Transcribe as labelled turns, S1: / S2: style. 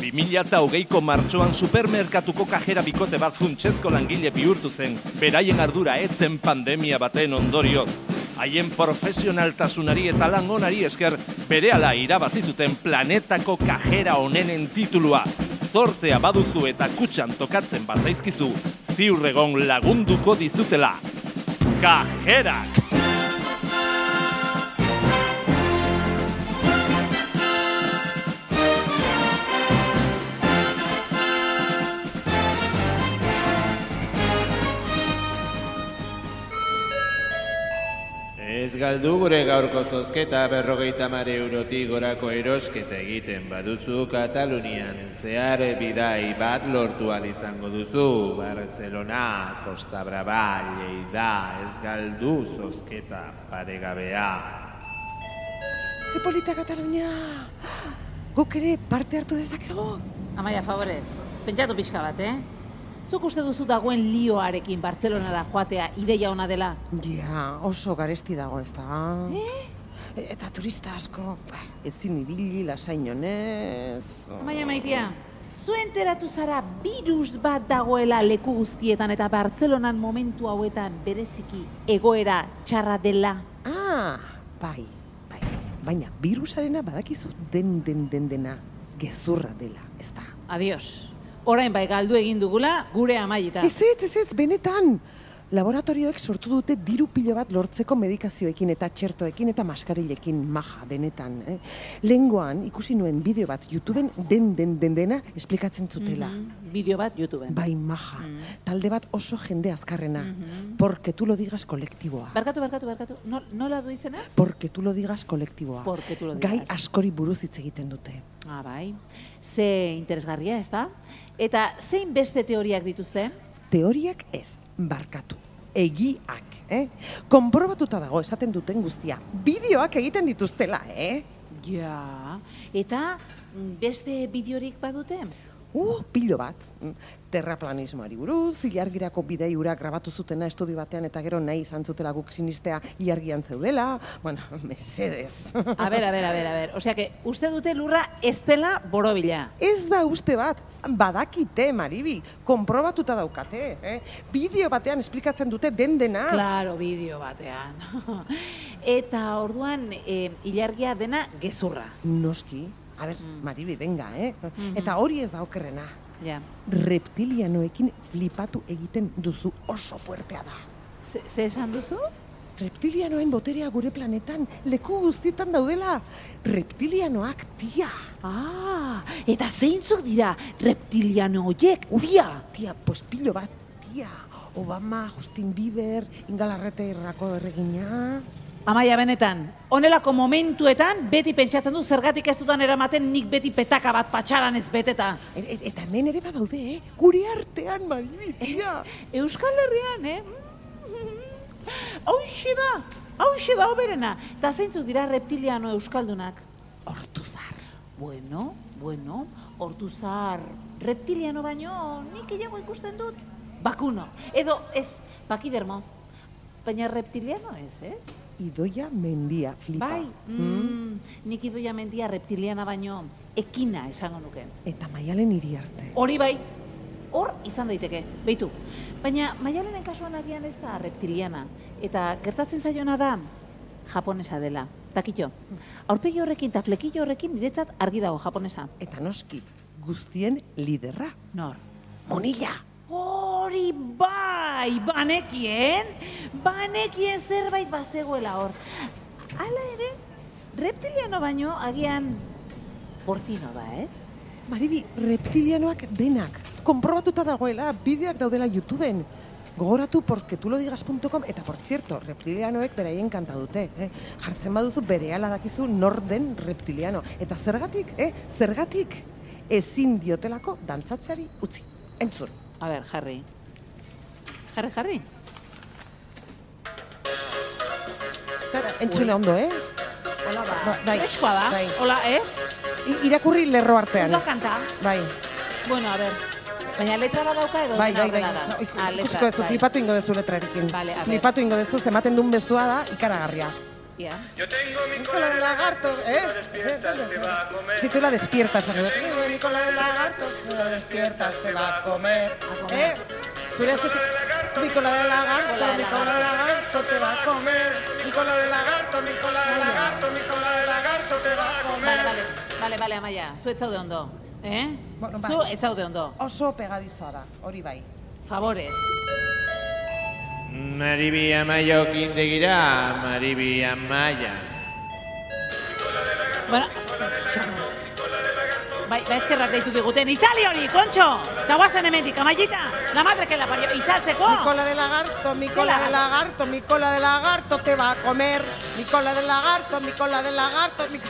S1: 2008ko martxoan supermerkatuko kajera bikote bat funtsezko langile bihurtu zen, beraien ardura etzen pandemia baten ondorioz. Haien profesionaltasunari eta lan onari esker berehala irabazi zuten planetako kajera onenen titulua. Zortea baduzu eta kutxan tokatzen bazaizkizu, ziurregon lagunduko dizutela. Kajerak!
S2: Ez galdu gure gaurko zozketa berrogeita mare eurotik gorako erosketa egiten baduzu Katalunian zehar bidai bat lortu ahal izango duzu Barcelona, Costa Brava, Lleida, ez galdu zozketa paregabea.
S3: Ze polita Katalunia! Guk ere parte hartu dezakego?
S4: Amaia, favorez, pentsatu pixka bat, eh? Zuk uste duzu dagoen lioarekin Bartzelonara joatea ideia ona dela?
S3: Ja, oso garesti dago ez da. E- Eta turista asko, ba, ezin ibili, lasain honez.
S4: Amaia maitia, zu enteratu zara virus bat dagoela leku guztietan eta Bartzelonan momentu hauetan bereziki egoera txarra dela.
S3: Ah, bai, bai. Baina virusarena badakizu den den den dena gezurra dela, ez da.
S4: Adios. Orain bai galdu egin dugula gure amaietan.
S3: Ez ez, ez ez, benetan. Laboratorioek sortu dute diru pilo bat lortzeko medikazioekin eta txertoekin eta maskarilekin maja, benetan. Eh? Lengoan ikusi nuen bideo bat YouTubeen den den den dena esplikatzen zutela.
S4: Mhm, Bideo bat YouTubeen.
S3: Bai maja, talde bat oso jende azkarrena.
S4: Mhm.
S3: Porque tú lo digas kolektiboa.
S4: Barkatu, barkatu, barkatu. No, nola du izena?
S3: Porque tú lo digas kolektiboa.
S4: Porque tú lo
S3: Gai
S4: digas.
S3: askori buruz hitz egiten dute.
S4: Ah, bai. Ze interesgarria, ez da? Eta zein beste teoriak dituzte?
S3: Teoriak ez, barkatu. Egiak, eh? Konprobatuta dago esaten duten guztia. Bideoak egiten dituztela, eh?
S4: Ja. Eta mm, beste bideorik badute?
S3: Uh, pilo bat. Mm, Terraplanismoari buruz, ilargirako bidei ura grabatu zutena estudio batean eta gero nahi izan zutela guk sinistea ilargian zeudela. Bueno, mesedez.
S4: A ber, a ber, a ber, a ber. Osea, que uste dute lurra ez dela borobila.
S3: Ez da uste bat, badakite, Maribi, konprobatuta daukate, eh? Bideo batean esplikatzen dute den dena.
S4: Ah. Claro, bideo batean. Eta orduan, eh, ilargia dena gezurra.
S3: Noski, a ber, Maribi, venga, eh? Eta hori ez da okerrena.
S4: Ja.
S3: Reptilianoekin flipatu egiten duzu oso fuertea da.
S4: Ze, ze esan duzu?
S3: Reptilianoen boterea gure planetan, leku guztietan daudela. Reptilianoak tia.
S4: Ah, eta zeintzuk dira reptiliano horiek, dia!
S3: Tia, pospilo bat, tia. Obama, Justin Bieber, Ingalarrete errako erregina.
S4: Amaia benetan, honelako momentuetan beti pentsatzen du zergatik ez dudan eramaten nik beti petaka bat patxaran ez beteta.
S3: E- e- eta hemen ere badaude, eh? Gure artean, Maribi, tia.
S4: Eh? Euskal Herrian, eh? Hauxe da, hauxe da oberena. Eta zeintzuk dira reptiliano euskaldunak?
S3: Hortuzar.
S4: Bueno, bueno, hortuzar reptiliano baino nik gehiago ikusten dut. Bakuno, edo ez, pakidermo. Baina reptiliano ez, ez?
S3: Idoia mendia, flipa.
S4: Bai, mm, nik idoia mendia reptiliana baino ekina esango nuke.
S3: Eta maialen hiri arte.
S4: Hori bai, hor izan daiteke, beitu. Baina maialenen kasuan agian ez da reptiliana. Eta gertatzen zaiona da, japonesa dela. Takitxo, aurpegi horrekin eta flekillo horrekin niretzat argi dago japonesa.
S3: Eta noski, guztien liderra.
S4: Nor?
S3: Monila!
S4: Hori bai, banekien, banekien zerbait bazegoela hor. Hala ere, reptiliano baino agian porcino da, ez?
S3: Maribi, reptilianoak denak. Konprobatuta dagoela, bideak daudela YouTubeen. Gogoratu porketulodigas.com eta, por cierto, reptilianoek beraien kanta dute. Eh? Jartzen baduzu berehala dakizu nor den reptiliano. Eta zergatik, eh? zergatik, ezin diotelako dantzatzeari utzi. Entzun.
S4: A ber, jarri. Jarri, jarri.
S3: Entzuna ondo, eh?
S4: Hola ba.
S3: Ba- bai,
S4: Freskoa da.
S3: bai.
S4: Hola, eh. ez?
S3: I- irakurri lerro artean.
S4: Ondo kanta.
S3: Bai,
S4: Bueno, a ber. Baina letra badauka edo
S3: bai,
S4: dena
S3: bai, bai.
S4: horrela da?
S3: No, ik-
S4: Ah, letra,
S3: Ikusiko duzu,
S4: bai.
S3: flipatu ingo duzu letrarekin.
S4: Vale, a ver.
S3: flipatu ingo duzu, zematen duen bezua da, ikaragarria.
S4: Ya.
S5: Yo tengo mi
S3: Con
S5: cola
S3: los
S5: de lagarto,
S3: lagartos,
S5: si
S3: ¿eh?
S5: tú la despiertas te va a comer.
S3: Si tú la despiertas, ¿eh?
S5: Yo
S3: amigo.
S5: tengo mi cola de lagarto, si tú la despiertas te va a comer.
S4: A comer.
S3: ¿Eh? Tú eres tu... Mi cola de lagarto, mi cola de lagarto te va a comer.
S5: comer. Mi cola de lagarto, mi cola de lagarto, mi cola de lagarto te va a
S4: Bale,
S5: comer.
S4: bale, bale, bale, amaia, zu ez zaude ondo. Eh?
S3: Bueno,
S4: zu
S3: bai.
S4: ez zaude ondo.
S3: Oso pegadizoa da, hori bai.
S4: Favorez.
S2: Maribi amaia okindegira, maribi amaia.
S4: Bueno, Bai, ba, eskerrak deitu diguten. Itzali hori, kontxo! Dagoazen hemendik, amaiita! La madre que la parió, itzaltzeko!
S3: Mi cola de lagarto, mi cola de lagarto, mi cola de lagarto te va a comer. Mi cola de lagarto, mi cola de lagarto, mi...